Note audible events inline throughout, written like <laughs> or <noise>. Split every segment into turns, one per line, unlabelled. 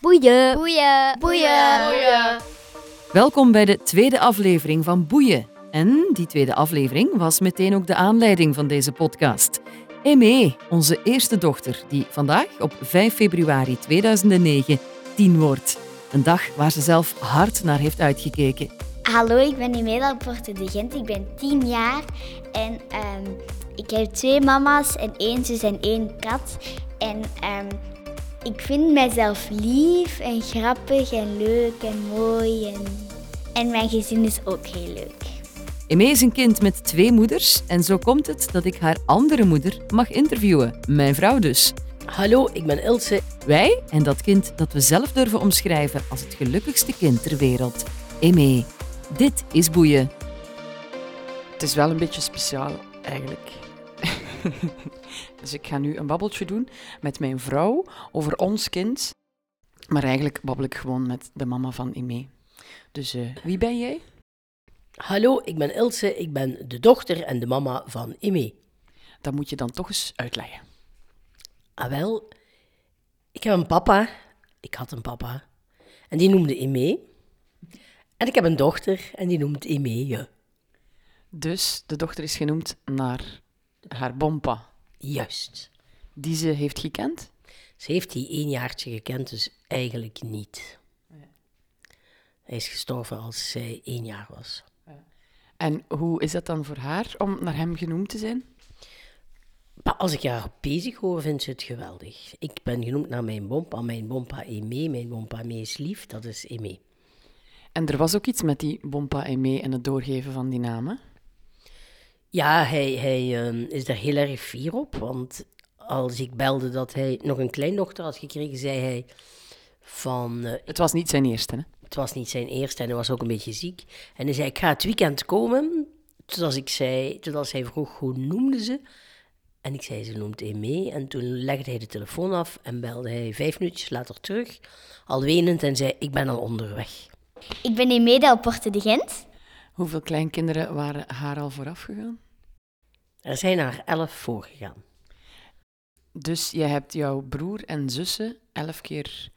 Boeien.
Boeien.
Boeien.
Boeien.
Welkom bij de tweede aflevering van Boeien. En die tweede aflevering was meteen ook de aanleiding van deze podcast. Emé, onze eerste dochter, die vandaag op 5 februari 2009 tien wordt. Een dag waar ze zelf hard naar heeft uitgekeken.
Hallo, ik ben Imelda Porter de Gent. Ik ben 10 jaar en ehm, ik heb twee mama's en één zus en één kat. En ehm, ik vind mijzelf lief en grappig en leuk en mooi. En, en mijn gezin is ook heel leuk.
Emé is een kind met twee moeders en zo komt het dat ik haar andere moeder mag interviewen. Mijn vrouw dus.
Hallo, ik ben Ilse.
Wij en dat kind dat we zelf durven omschrijven als het gelukkigste kind ter wereld. Emé, dit is boeien.
Het is wel een beetje speciaal, eigenlijk. <laughs> dus ik ga nu een babbeltje doen met mijn vrouw over ons kind. Maar eigenlijk babbel ik gewoon met de mama van Imé. Dus eh, wie ben jij?
Hallo, ik ben Ilse. Ik ben de dochter en de mama van Imé.
Dat moet je dan toch eens uitleggen.
Ah wel, ik heb een papa. Ik had een papa. En die noemde Imé. En ik heb een dochter en die noemt Imé je.
Dus de dochter is genoemd naar haar bompa,
Juist.
die ze heeft gekend.
Ze heeft die één jaartje gekend, dus eigenlijk niet. Hij is gestorven als zij één jaar was.
En hoe is dat dan voor haar om naar hem genoemd te zijn?
Maar als ik haar bezig hoor, vindt ze het geweldig. Ik ben genoemd naar mijn bompa, mijn bompa Emé. Mijn bompa Emé is lief, dat is Emé.
En er was ook iets met die bompa Imé en het doorgeven van die namen.
Ja, hij, hij ehm, is daar heel erg fier op. Want als ik belde dat hij nog een kleindochter had gekregen, zei hij van... eh,
Het was niet zijn eerste, hè?
het was niet zijn eerste en hij was ook een beetje ziek. En hij zei, ik ga het weekend komen. Toen als ik zei, toen als hij vroeg, hoe noemde ze? En ik zei, ze noemt Emé. En toen legde hij de telefoon af en belde hij vijf minuutjes later terug. Al wenend en zei, ik ben al onderweg.
Ik ben Imelda Porter de Gent.
Hoeveel kleinkinderen waren haar al vooraf gegaan?
Er zijn haar elf voorgegaan.
Dus je hebt jouw broer en zussen elf keer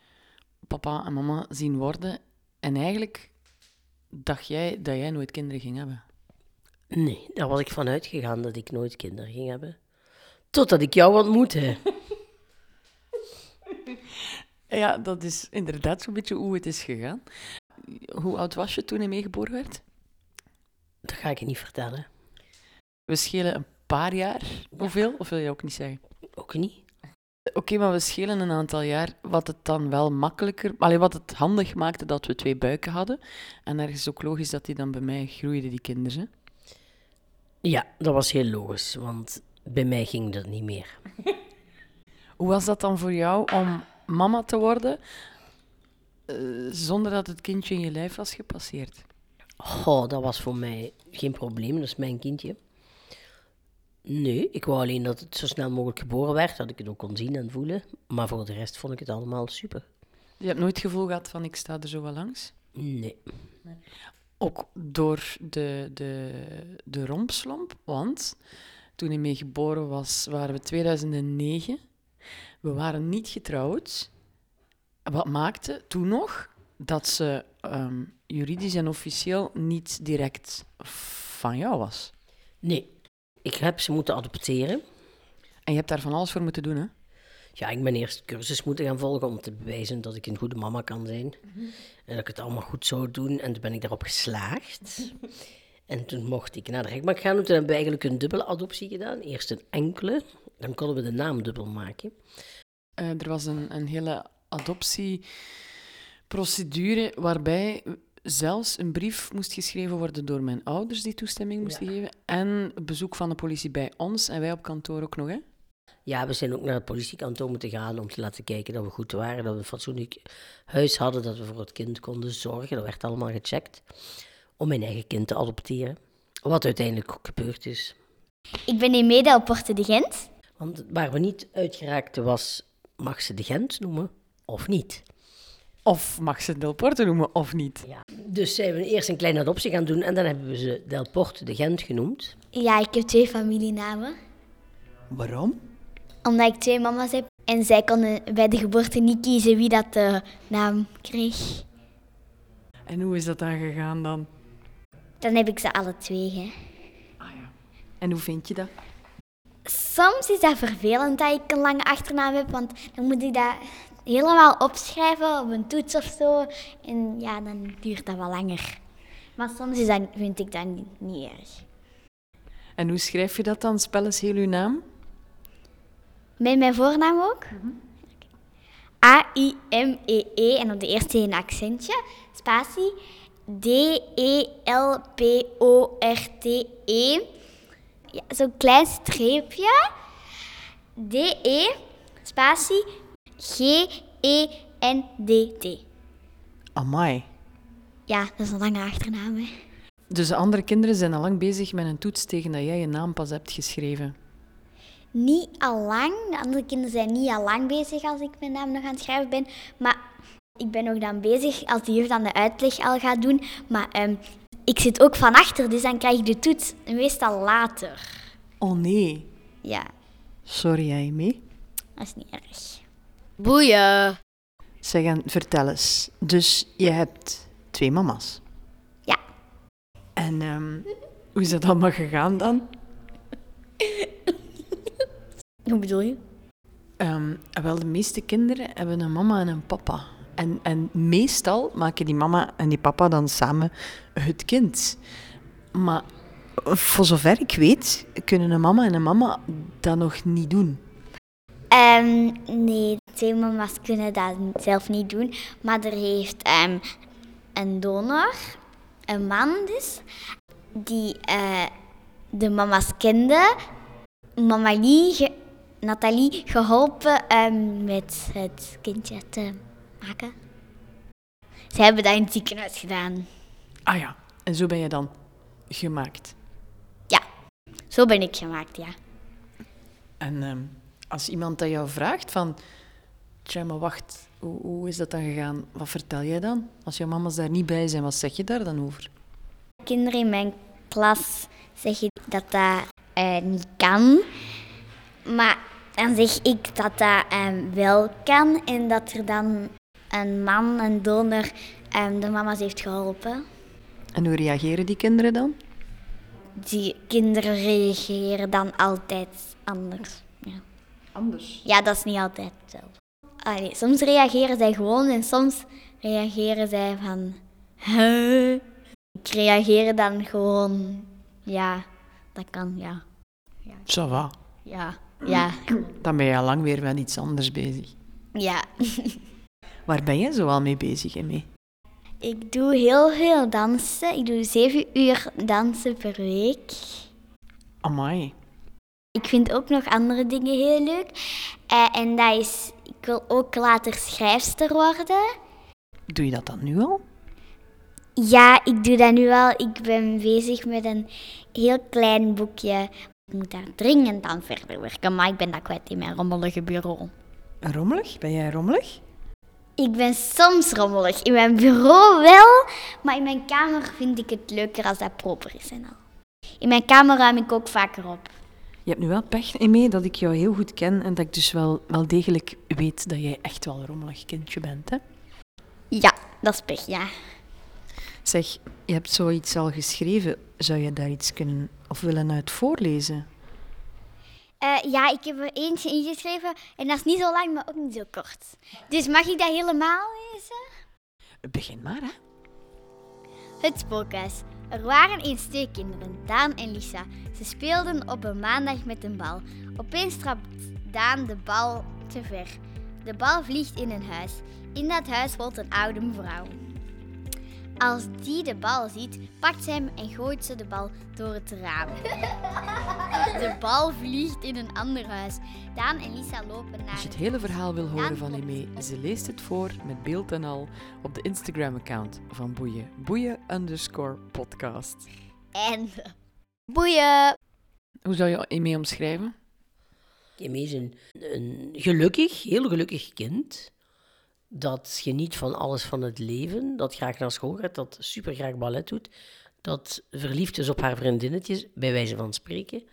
papa en mama zien worden. En eigenlijk dacht jij dat jij nooit kinderen ging hebben.
Nee, daar was ik van uitgegaan dat ik nooit kinderen ging hebben. Totdat ik jou ontmoette.
Ja, dat is inderdaad zo'n beetje hoe het is gegaan. Hoe oud was je toen hij meegeboren werd?
Dat ga ik je niet vertellen.
We schelen een paar jaar. Hoeveel? Of wil je ook niet zeggen?
Ook niet.
Oké, maar we schelen een aantal jaar. Wat het dan wel makkelijker... Allee, wat het handig maakte dat we twee buiken hadden. En ergens ook logisch dat die dan bij mij groeiden, die kinderen. hè?
Ja, dat was heel logisch, want bij mij ging dat niet meer.
Hoe was dat dan voor jou om mama te worden eh, zonder dat het kindje in je lijf was gepasseerd?
Goh, dat was voor mij geen probleem, dat is mijn kindje. Nee, ik wou alleen dat het zo snel mogelijk geboren werd, dat ik het ook kon zien en voelen. Maar voor de rest vond ik het allemaal super.
Je hebt nooit het gevoel gehad van ik sta er zo wel langs?
Nee.
Ook door de, de, de rompslomp, want toen hij mee geboren was, waren we 2009. We waren niet getrouwd. Wat maakte toen nog dat ze ehm, juridisch en officieel niet direct van jou was?
Nee. Ik heb ze moeten adopteren.
En je hebt daar van alles voor moeten doen, hè?
Ja, ik ben eerst cursus moeten gaan volgen om te bewijzen dat ik een goede mama kan zijn. En dat ik het allemaal goed zou doen. En toen ben ik daarop geslaagd. en toen mocht ik naar de rechtbank gaan. En toen hebben we eigenlijk een dubbele adoptie gedaan. Eerst een enkele. Dan konden we de naam dubbel maken.
Eh, er was een, een hele adoptieprocedure waarbij zelfs een brief moest geschreven worden door mijn ouders die toestemming moesten geven. En bezoek van de politie bij ons en wij op kantoor ook nog. Hè?
Ja, we zijn ook naar het politiekantoor moeten gaan om te laten kijken dat we goed waren, dat we een fatsoenlijk huis hadden, dat we voor het kind konden zorgen. Dat werd allemaal gecheckt om mijn eigen kind te adopteren. Wat uiteindelijk ook gebeurd is.
Ik ben Imelda Porter de Gent.
Want waar we niet uitgeraakten was, mag ze de Gent noemen of niet?
Of mag ze Del Porto noemen of niet?
Dus zijn we eerst een kleine adoptie gaan doen en dan hebben we ze Delporte de Gent genoemd.
Ja, ik heb twee familienamen.
Waarom?
Omdat ik twee mama's heb. En zij konden bij de geboorte niet kiezen wie dat de naam kreeg.
En hoe is dat dan gegaan dan?
Dan heb ik ze alle twee. Hè.
Ah ja. En hoe vind je dat?
Soms is dat vervelend dat ik een lange achternaam heb, want dan moet ik dat helemaal opschrijven op een toets of zo. En ja, dan duurt dat wel langer. Maar soms is dat, vind ik dat niet, niet erg.
En hoe schrijf je dat dan? Spel eens heel uw naam.
Met mijn voornaam ook? A-I-M-E-E E, en op de eerste een accentje. Spatie. E, D-E-L-P-O-R-T-E. E. Ja, Zo'n klein streepje. D-E. Spatie. E, G-E-N-D-T.
Amai.
Ja, dat is een lange achternaam. Hè.
Dus de andere kinderen zijn al lang bezig met een toets tegen dat jij je naam pas hebt geschreven.
Niet al lang. De andere kinderen zijn niet al lang bezig als ik mijn naam nog aan het schrijven ben. Maar ik ben nog dan bezig als de juf dan de uitleg al gaat doen. Maar ehm, ik zit ook van achter, dus dan krijg ik de toets meestal later.
Oh nee.
Ja,
Sorry, jij mee.
dat is niet erg.
Boeien.
Zeg, en vertel eens. Dus je hebt twee mama's.
Ja.
En ehm, hoe is dat allemaal gegaan dan?
Hoe bedoel je?
Ehm, wel, de meeste kinderen hebben een mama en een papa. En, en meestal maken die mama en die papa dan samen het kind. Maar voor zover ik weet, kunnen een mama en een mama dat nog niet doen.
Ehm, nee, twee mama's kunnen dat zelf niet doen. Maar er heeft ehm, een donor, een man dus, die eh, de mama's kende. Mama Lee, ge- Nathalie, geholpen ehm, met het kindje te maken. Ze hebben dat in het ziekenhuis gedaan.
Ah ja, en zo ben je dan gemaakt.
Ja, zo ben ik gemaakt, ja.
En ehm, als iemand dat jou vraagt van... Tja, maar wacht, hoe, hoe is dat dan gegaan? Wat vertel jij dan? Als jouw mama's daar niet bij zijn, wat zeg je daar dan over?
Kinderen in mijn klas zeggen dat dat eh, niet kan. Maar dan zeg ik dat dat eh, wel kan en dat er dan een man, een donor, eh, de mama's heeft geholpen.
En hoe reageren die kinderen dan?
Die kinderen reageren dan altijd anders. Ja. Anders? Ja, dat is niet altijd hetzelfde. Allee, soms reageren zij gewoon en soms reageren zij van... Huh? Ik reageer dan gewoon... Ja, dat kan, ja.
Ça va.
Ja, ja,
Dan ben je al lang weer met iets anders bezig.
ja. <laughs>
Waar ben jij zoal mee bezig, Emmy?
Ik doe heel veel dansen. Ik doe zeven uur dansen per week.
Amai.
Ik vind ook nog andere dingen heel leuk. Eh, en dat is, ik wil ook later schrijfster worden.
Doe je dat dan nu al?
Ja, ik doe dat nu al. Ik ben bezig met een heel klein boekje. Ik moet daar dringend aan verder werken, maar ik ben dat kwijt in mijn rommelige bureau.
Rommelig? Ben jij rommelig?
Ik ben soms rommelig. In mijn bureau wel, maar in mijn kamer vind ik het leuker als dat proper is en al. In mijn kamer ruim ik ook vaker op.
Je hebt nu wel pech, Emmy, dat ik jou heel goed ken en dat ik dus wel, wel degelijk weet dat jij echt wel een rommelig kindje bent, hè?
Ja, dat is pech, ja.
Zeg, je hebt zoiets al geschreven. Zou je daar iets kunnen of willen uit voorlezen?
Eh, ja, ik heb er eentje ingeschreven en dat is niet zo lang, maar ook niet zo kort. Dus mag ik dat helemaal lezen?
Begin maar, hè.
Het spookhuis. Er waren eens twee kinderen, Daan en Lisa. Ze speelden op een maandag met een bal. Opeens trapt Daan de bal te ver. De bal vliegt in een huis. In dat huis woont een oude mevrouw. Als die de bal ziet, pakt ze hem en gooit ze de bal door het raam. De bal vliegt in een ander huis. Daan en Lisa lopen naar...
Als je het hele verhaal wil horen van
klopt.
Emé, ze leest het voor met beeld en al op de Instagram-account van Boeien. Boeien underscore podcast.
En... Boeien!
Hoe zou je Emmy omschrijven?
Emé is een, een gelukkig, heel gelukkig kind. Dat geniet van alles van het leven. Dat graag naar school gaat. Dat super graag ballet doet. Dat verliefd is op haar vriendinnetjes, bij wijze van spreken.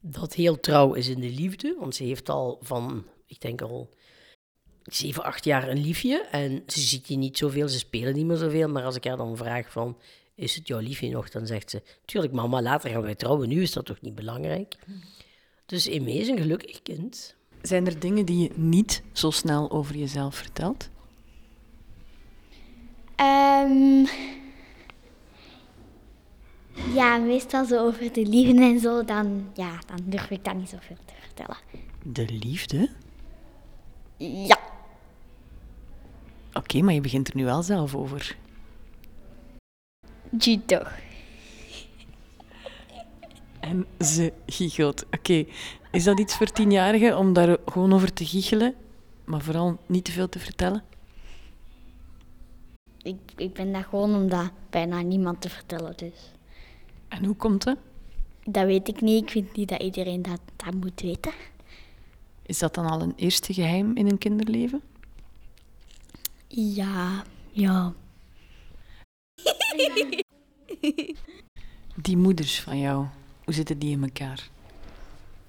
Dat heel trouw is in de liefde. Want ze heeft al van ik denk al zeven, acht jaar een liefje. En ze ziet die niet zoveel, ze spelen niet meer zoveel. Maar als ik haar dan vraag van, is het jouw liefje nog? Dan zegt ze, tuurlijk mama, later gaan wij trouwen. Nu is dat toch niet belangrijk? Dus Eme is een gelukkig kind.
Zijn er dingen die je niet zo snel over jezelf vertelt?
Ehm, ja, meestal zo over de liefde en zo, dan, ja, dan durf ik dat niet zoveel te vertellen.
De liefde?
Ja.
Oké, maar je begint er nu wel zelf over.
Die toch.
En ze giechelt. Oké, is dat iets voor tienjarigen om daar gewoon over te giechelen, maar vooral niet te veel te vertellen?
Ik, ik ben daar gewoon om dat bijna niemand te vertellen, dus.
En hoe komt dat?
Dat weet ik niet. Ik vind niet dat iedereen dat, dat moet weten.
Is dat dan al een eerste geheim in een kinderleven?
Ja, ja.
Die moeders van jou, hoe zitten die in elkaar?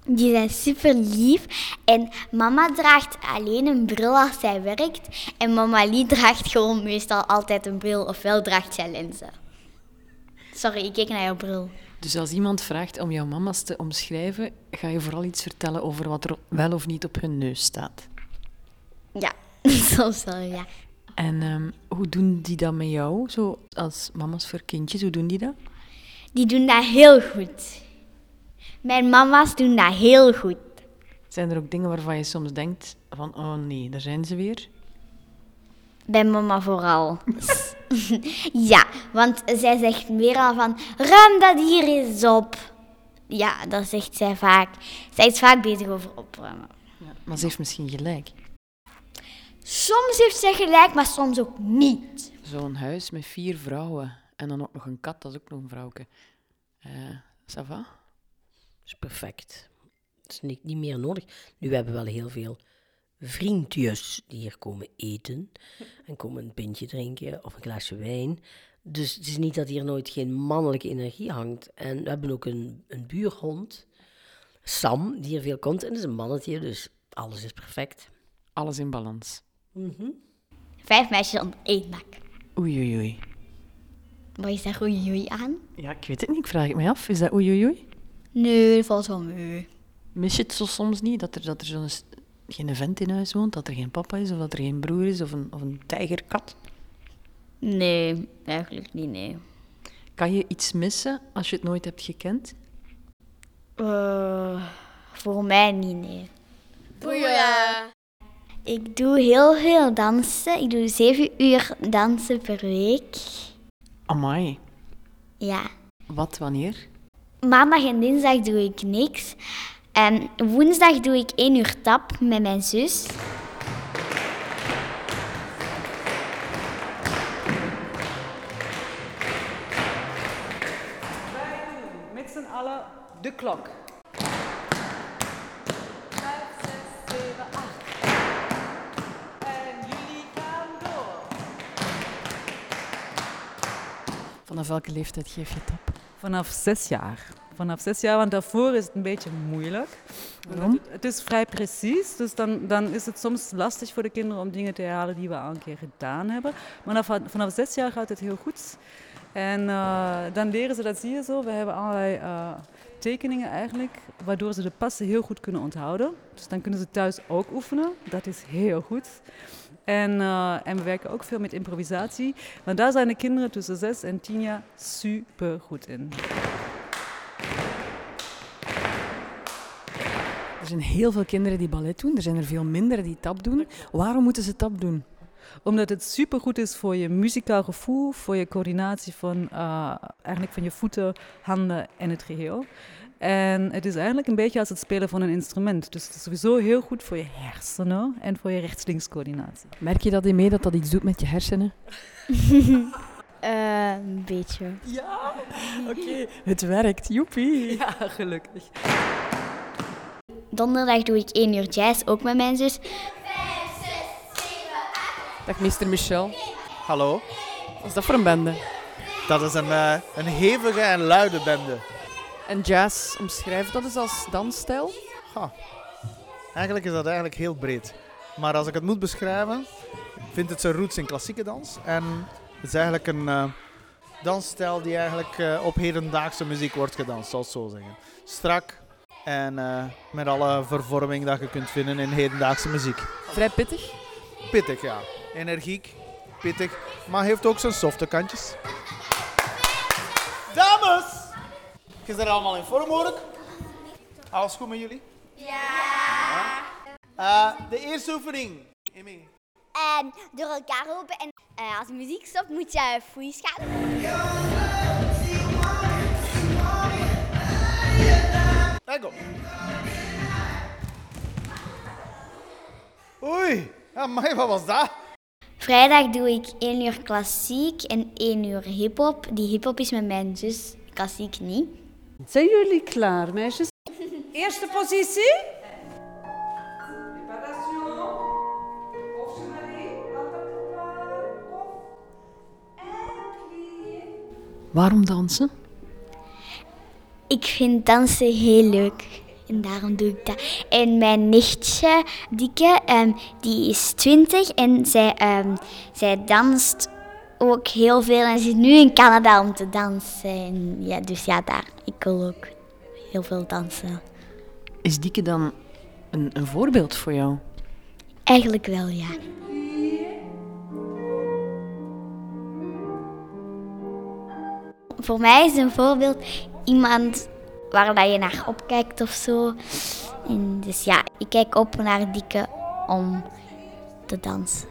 Die zijn super lief. En mama draagt alleen een bril als zij werkt. En mama Lee draagt gewoon meestal altijd een bril. Ofwel draagt zij lenzen. Sorry, ik keek naar jouw bril.
Dus als iemand vraagt om jouw mama's te omschrijven, ga je vooral iets vertellen over wat er wel of niet op hun neus staat.
Ja, <laughs> soms wel, ja.
En ehm, hoe doen die dat met jou, zo als mama's voor kindjes, hoe doen die dat?
Die doen dat heel goed. Mijn mama's doen dat heel goed.
Zijn er ook dingen waarvan je soms denkt van, oh nee, daar zijn ze weer?
Bij mama vooral. <laughs> ja, want zij zegt meer al van, ruim dat hier eens op. Ja, dat zegt zij vaak. Zij is vaak bezig over opruimen.
Maar ze heeft misschien gelijk.
Soms heeft zij gelijk, maar soms ook niet.
Zo'n huis met vier vrouwen en dan ook nog een kat, dat is ook nog een vrouwke. Eh ça va?
Dat is perfect. Dat is niet, niet meer nodig. Nu hebben we wel heel veel vriendjes die hier komen eten. En komen een pintje drinken of een glaasje wijn. Dus het is niet dat hier nooit geen mannelijke energie hangt. En we hebben ook een, een buurhond, Sam, die hier veel komt. En dat is een mannetje, dus alles is perfect.
Alles in balans.
Vijf meisjes onder één dak.
Oei, oei, oei.
Wat is daar goeie joei aan?
Ja, ik weet het niet, ik vraag het mij af. Is dat oei, oei, oei?
Nee, valt wel mee.
Mis je het zo soms niet, dat er, dat er zo'n s- geen vent in huis woont, dat er geen papa is, of dat er geen broer is, of een, of een tijgerkat?
Nee, eigenlijk niet, nee.
Kan je iets missen als je het nooit hebt gekend?
Eh, voor mij niet, nee. Boeien! Ik doe heel veel dansen. Ik doe zeven uur dansen per week.
Amai.
Ja.
Wat, wanneer?
Maandag en dinsdag doe ik niks. En woensdag doe ik één uur tap met mijn zus.
Met z'n allen de klok. Vijf, zes, zeven, acht. En jullie gaan door.
Vanaf welke leeftijd geef je tap?
Vanaf zes jaar. Vanaf zes jaar, want daarvoor is het een beetje moeilijk.
Waarom?
Het, het is vrij precies, dus dan, dan is het soms lastig voor de kinderen om dingen te herhalen die we al een keer gedaan hebben. Maar vanaf, vanaf zes jaar gaat het heel goed. En eh, dan leren ze dat, zie je zo. We hebben allerlei eh, tekeningen eigenlijk, waardoor ze de passen heel goed kunnen onthouden. Dus dan kunnen ze thuis ook oefenen. Dat is heel goed. En, eh, en we werken ook veel met improvisatie, want daar zijn de kinderen tussen zes en tien jaar super goed in.
Er zijn heel veel kinderen die ballet doen, er zijn er veel minder die tap doen. Waarom moeten ze tap doen?
Omdat het supergoed is voor je muzikaal gevoel, voor je coördinatie van, eh, eigenlijk van je voeten, handen en het geheel. En het is eigenlijk een beetje als het spelen van een instrument. Dus het is sowieso heel goed voor je hersenen en voor je rechts-links coördinatie.
Merk je dat in mee dat dat iets doet met je hersenen?
Eh, een beetje.
Ja, oké. Het werkt, joepie.
Ja, gelukkig.
Donderdag doe ik één uur jazz, ook met mijn zus.
Dag meester Michel.
Hallo,
Wat is dat voor een bende?
dat is een, eh, een hevige en luide bende.
En jazz, omschrijf dat eens als dansstijl.
Eigenlijk is dat eigenlijk heel breed. Maar als ik het moet beschrijven, vindt het zijn roots in klassieke dans. En het is eigenlijk een eh, dansstijl die eigenlijk eh, op hedendaagse muziek wordt gedanst, zal ik zo zeggen. Strak en eh, met alle vervorming dat je kunt vinden in hedendaagse muziek.
Vrij pittig.
Pittig, ja. Energiek, pittig, maar heeft ook zijn softe kantjes. Dames! Je bent allemaal in vorm, hoor ik. Alles goed met jullie? Ja! Eh, de eerste oefening. Emmy.
En door elkaar roepen. En eh, als de muziek stopt, moet je fouilles gaan.
Kijk op. Oei, amai, wat was dat?
Vrijdag doe ik 1 uur klassiek en 1 uur hip-hop. Die hip-hop is met mijn zus, klassiek niet.
Zijn jullie klaar, meisjes?
Eerste positie.
Waarom dansen?
Ik vind dansen heel leuk. En daarom doe ik dat. En mijn nichtje, Dikke, ehm, die is 20 en zij, ehm, zij danst ook heel veel. En ze is nu in Canada om te dansen. En ja, dus ja, daar. Ik wil ook heel veel dansen.
Is Dieke dan een, een voorbeeld voor jou?
Eigenlijk wel, ja. Voor mij is een voorbeeld iemand waar dat je naar opkijkt of zo. En dus ja, ik kijk op naar Dieke om te dansen.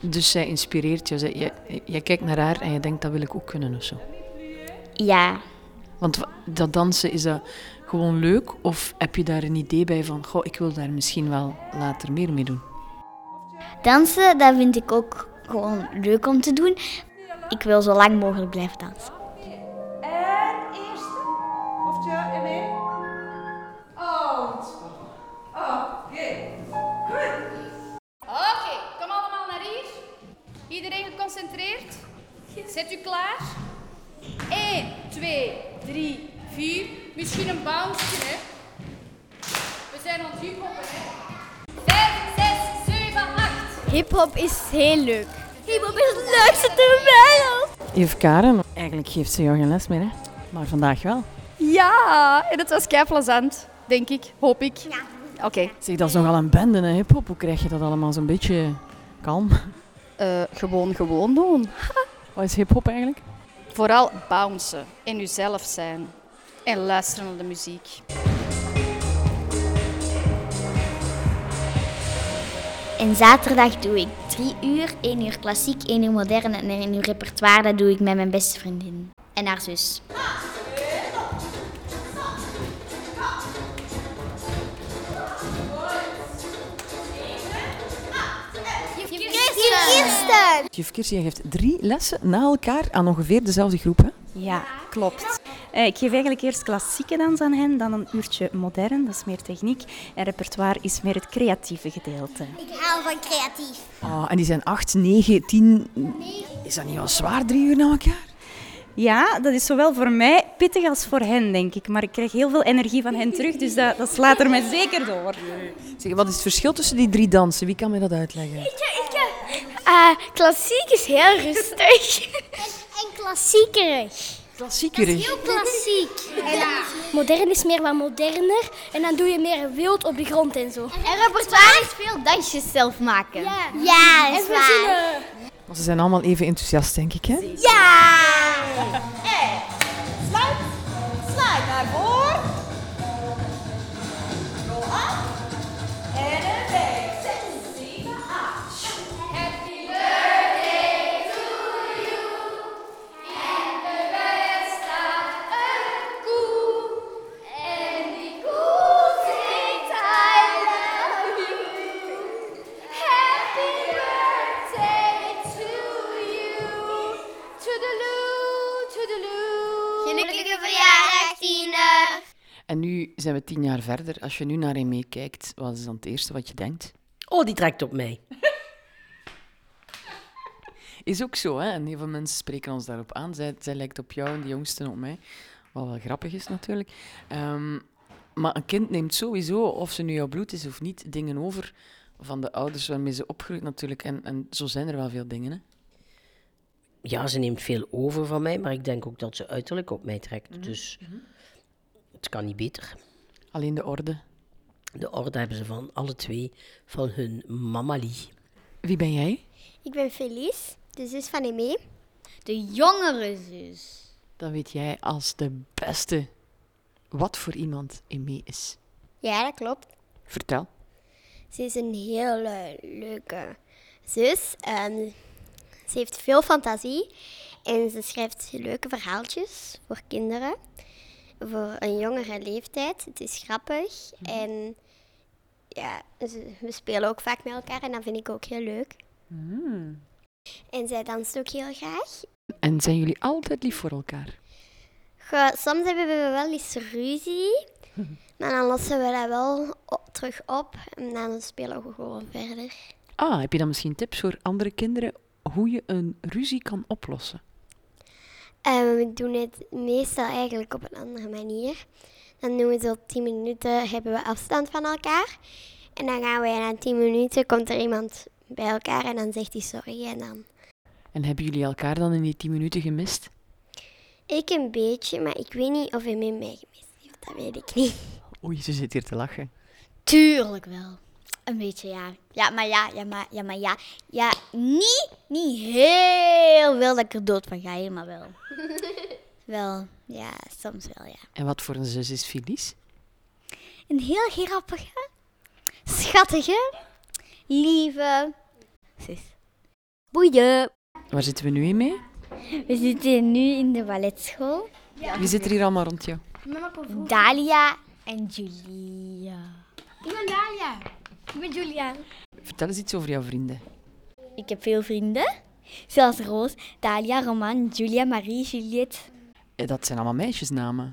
Dus zij inspireert je. Zij, jij, jij kijkt naar haar en je denkt, dat wil ik ook kunnen of zo.
Ja,
Want wa- dat dansen, is dat gewoon leuk? Of heb je daar een idee bij van, goh, ik wil daar misschien wel later meer mee doen?
dansen dat vind ik ook gewoon leuk om te doen. Ik wil zo lang mogelijk blijven dansen.
En eerste. Of je en mee. Out. Oké. Goed.
Oké, kom allemaal naar hier. Iedereen geconcentreerd? Zet u klaar? 1, 2, 3, 4. Misschien een bounce, hè? We zijn aan het hiphoppen, hè? 5, 6, 7, 8.
Hip-hop is heel leuk. Hip-hop is het leukste ter wereld.
Juf Karen, eigenlijk geeft ze jou geen les meer, hè? Maar vandaag wel.
Ja, en het was kei plezant, denk ik. Hoop ik. Oké.
Zeg, dat is nogal een bende, hè, hiphop. Hoe krijg je dat allemaal zo'n beetje kalm?
Eh, gewoon, gewoon doen.
Wat is hiphop eigenlijk?
Vooral bouncen en uzelf zijn. En luisteren naar de muziek.
En zaterdag doe ik drie uur, één uur klassiek, één uur modern en één uur repertoire. Dat doe ik met mijn beste vriendin en haar zus. Kirsten!
Juf Kirsten, jij geeft drie lessen na elkaar aan ongeveer dezelfde groep, hè?
Ja, klopt. Eh, ik geef eigenlijk eerst klassieke dans aan hen, dan een uurtje modern, dat is meer techniek. En repertoire is meer het creatieve gedeelte.
Ik hou van creatief.
Oh, en die zijn acht, negen, tien... Is dat niet wel zwaar, drie uur na elkaar?
Ja, dat is zowel voor mij pittig als voor hen, denk ik. Maar ik krijg heel veel energie van hen terug, dus dat, dat slaat er mij zeker door.
Zeg, wat is het verschil tussen die drie dansen? Wie kan mij dat uitleggen?
Eh, klassiek is heel <laughs> rustig. en, klassiekerig.
Klassiekerig.
klassiek.
Modern is meer wat moderner en dan doe je meer wild op de grond en zo.
En repertoire is veel dansjes zelf maken. Ja, dat is waar.
Want Ze zijn allemaal even enthousiast, denk ik, hè?
Ja!
Eh,
Sluit. Sluit naar voren. Rol af. En een vijf, zes, zeven, acht.
Happy birthday to you. En de best staat een koe. En die koe zingt I love you. Happy birthday to you. Toedeloe, toedeloe.
Gelukkige verjaardag, Tine.
En nu zijn we tien jaar verder. Als je nu naar hem meekijkt, wat is dan het eerste wat je denkt?
Oh, die trekt op mij.
Is ook zo, hè? En heel veel mensen spreken ons daarop aan. Zij, zij lijkt op jou en de jongsten op mij. Wat wel grappig is natuurlijk. Ehm,
Maar een kind neemt sowieso, of ze nu jouw bloed is of niet, dingen over van de ouders waarmee ze opgroeit natuurlijk. En, en zo zijn er wel veel dingen. Hè?
Ja, ze neemt veel over van mij, maar ik denk ook dat ze uiterlijk op mij trekt. Dus het kan niet beter.
Alleen de orde.
De orde hebben ze van alle twee van hun mamalie.
Wie ben jij?
Ik ben Felice, de zus van Emé.
De jongere zus.
Dan weet jij als de beste wat voor iemand Emé is.
Ja, dat klopt.
Vertel.
Ze is een heel eh, leuke zus. Ehm, ze heeft veel fantasie en ze schrijft leuke verhaaltjes voor kinderen. Voor een jongere leeftijd. Het is grappig en ja, ze- we spelen ook vaak met elkaar en dat vind ik ook heel leuk. En zij danst ook heel graag.
En zijn jullie altijd lief voor elkaar?
Goh, soms hebben we wel eens <laughs> ruzie, maar dan lossen we dat wel o- terug op en dan spelen we gewoon verder.
Ah, heb je dan misschien tips voor andere kinderen hoe je een ruzie kan oplossen?
En we doen het meestal eigenlijk op een andere manier. Dan doen we zo 10 minuten, hebben we afstand van elkaar. En dan gaan we en na 10 minuten, komt er iemand bij elkaar en dan zegt hij sorry. En dan
En hebben jullie elkaar dan in die tien minuten gemist?
ik een beetje, maar ik weet niet of hij met mij gemist heeft, dat weet ik niet.
Oei, ze zit hier te lachen.
Tuurlijk
wel.
Een beetje, ja. Ja, maar ja, ja, maar ja, maar ja. Ja, niet, niet heel wel dat ik er dood van ga, maar <laughs> wel. Wel, ja, soms wel, ja.
En wat voor een zus is Felice?
Een heel grappige.
Schattige, lieve
zus.
Boeien!
Waar zitten we nu in mee?
We zitten nu in de balletschool.
Wie zit er hier allemaal rond jou?
Dalia en Julia.
Ik ben Dalia. Ik ben Julia.
Vertel eens iets over jouw vrienden.
Ik heb veel vrienden. Zoals Roos, Dalia, Roman, Julia, Marie, Juliette.
Eh, Dat zijn allemaal meisjesnamen.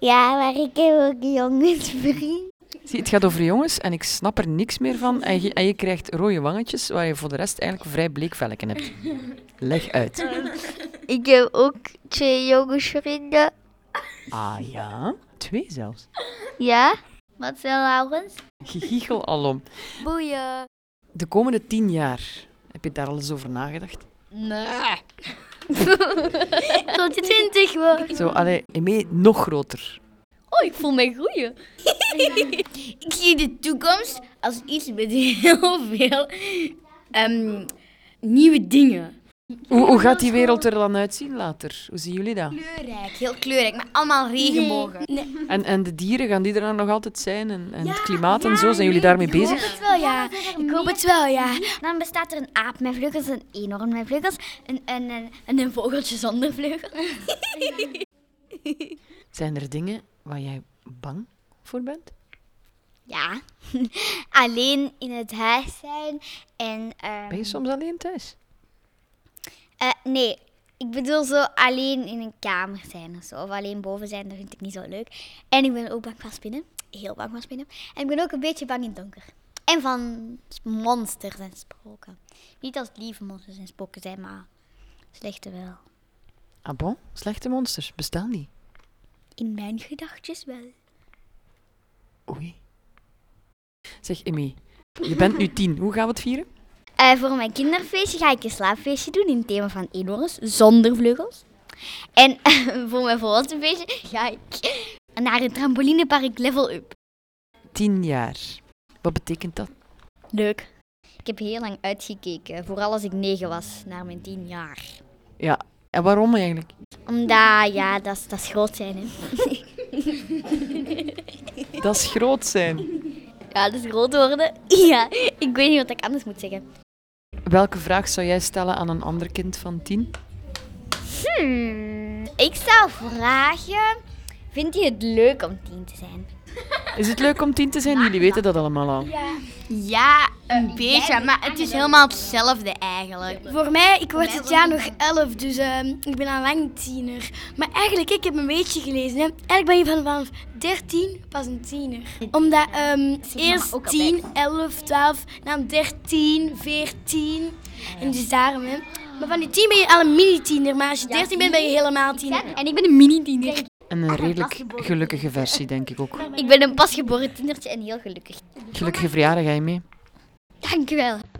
Ja, maar ik heb ook een jongensvriend.
Zie, het gaat over jongens en ik snap er niks meer van. En je, en je krijgt rode wangetjes waar je voor de rest eigenlijk vrij bleek velken hebt. Leg
<laughs>
uit.
Ik heb ook twee jongensvrienden.
Ah ja, twee zelfs.
Ja? Wat zijn Laurens?
Gegiegel alom.
Boeien.
De komende tien jaar, heb je daar al eens over nagedacht?
Nee.
Tot twintig wordt.
Zo, allee, Emé, nog groter.
Oh, ik voel mij groeien. ik zie de toekomst als iets met heel veel ehm, nieuwe dingen.
Hoe, hoe gaat die wereld er dan uitzien later? Hoe zien jullie dat?
Kleurrijk, heel kleurrijk, maar allemaal regenbogen.
En, en de dieren, gaan die er dan nog altijd zijn? En, en het klimaat en zo, zijn jullie daarmee bezig?
het wel, ja. Ik hoop het wel, ja.
Mhm. Dan bestaat er een aap met vleugels, een enorm met vleugels, een, een, een,
En een vogeltje zonder vleugel.
Zijn er dingen waar jij bang voor bent?
<laughs>
Ja. Alleen in het huis zijn en... ehm,
Ben je soms alleen thuis?
eh, nee, ik bedoel zo alleen in een kamer zijn of zo. Of alleen boven zijn, dat vind ik niet zo leuk. En ik ben ook bang van spinnen. Heel bang van spinnen. En ik ben ook een beetje bang in het donker. En van monsters en spoken. Niet als het lieve monsters en spoken zijn, maar slechte wel.
Ah bon? Slechte monsters bestaan niet.
In mijn gedachtjes wel.
Oei. Zeg, Emmy, je bent nu tien. Hoe gaan we het vieren?
Eh, voor mijn kinderfeestje ga ik een slaapfeestje doen in het thema van enorms, zonder vleugels.
<laughs>
En voor mijn volwassenfeestje ga ik naar het trampolinepark Level Up.
Tien jaar. Wat betekent dat?
Leuk. Ik heb heel lang uitgekeken, vooral als ik negen was, naar mijn tien jaar.
Ja, en waarom eigenlijk?
Omdat, ja, dat is- dat is groot zijn, hè.
Dat is groot zijn.
Ja, dat is groot worden. <laughs> Ja, ik weet niet wat ik anders moet zeggen.
Welke vraag zou jij stellen aan een ander kind van tien?
Hmm, ik zou vragen, vindt hij het leuk om tien te zijn?
Is het leuk om tien te zijn? Jullie weten dat allemaal al.
Ja, een beetje, maar het is helemaal hetzelfde eigenlijk.
Voor mij, ik word dit jaar nog 11, dus ehm, ik ben al lang een tiener. Maar eigenlijk, ik heb een beetje gelezen. Hè. Eigenlijk ben je van, vanaf 13 pas een tiener. Omdat ehm, eerst 10, 11, 12, dan 13, 14. En dus daarom, hè. Maar van die 10 ben je al een mini-tiener, maar als je 13 bent, ben je helemaal tiener.
En ik ben een mini-tiener.
En een redelijk gelukkige versie, denk ik ook.
Ik ben een pasgeboren tienertje en heel gelukkig.
Gelukkige verjaardag, ga je mee?
Dank u wel.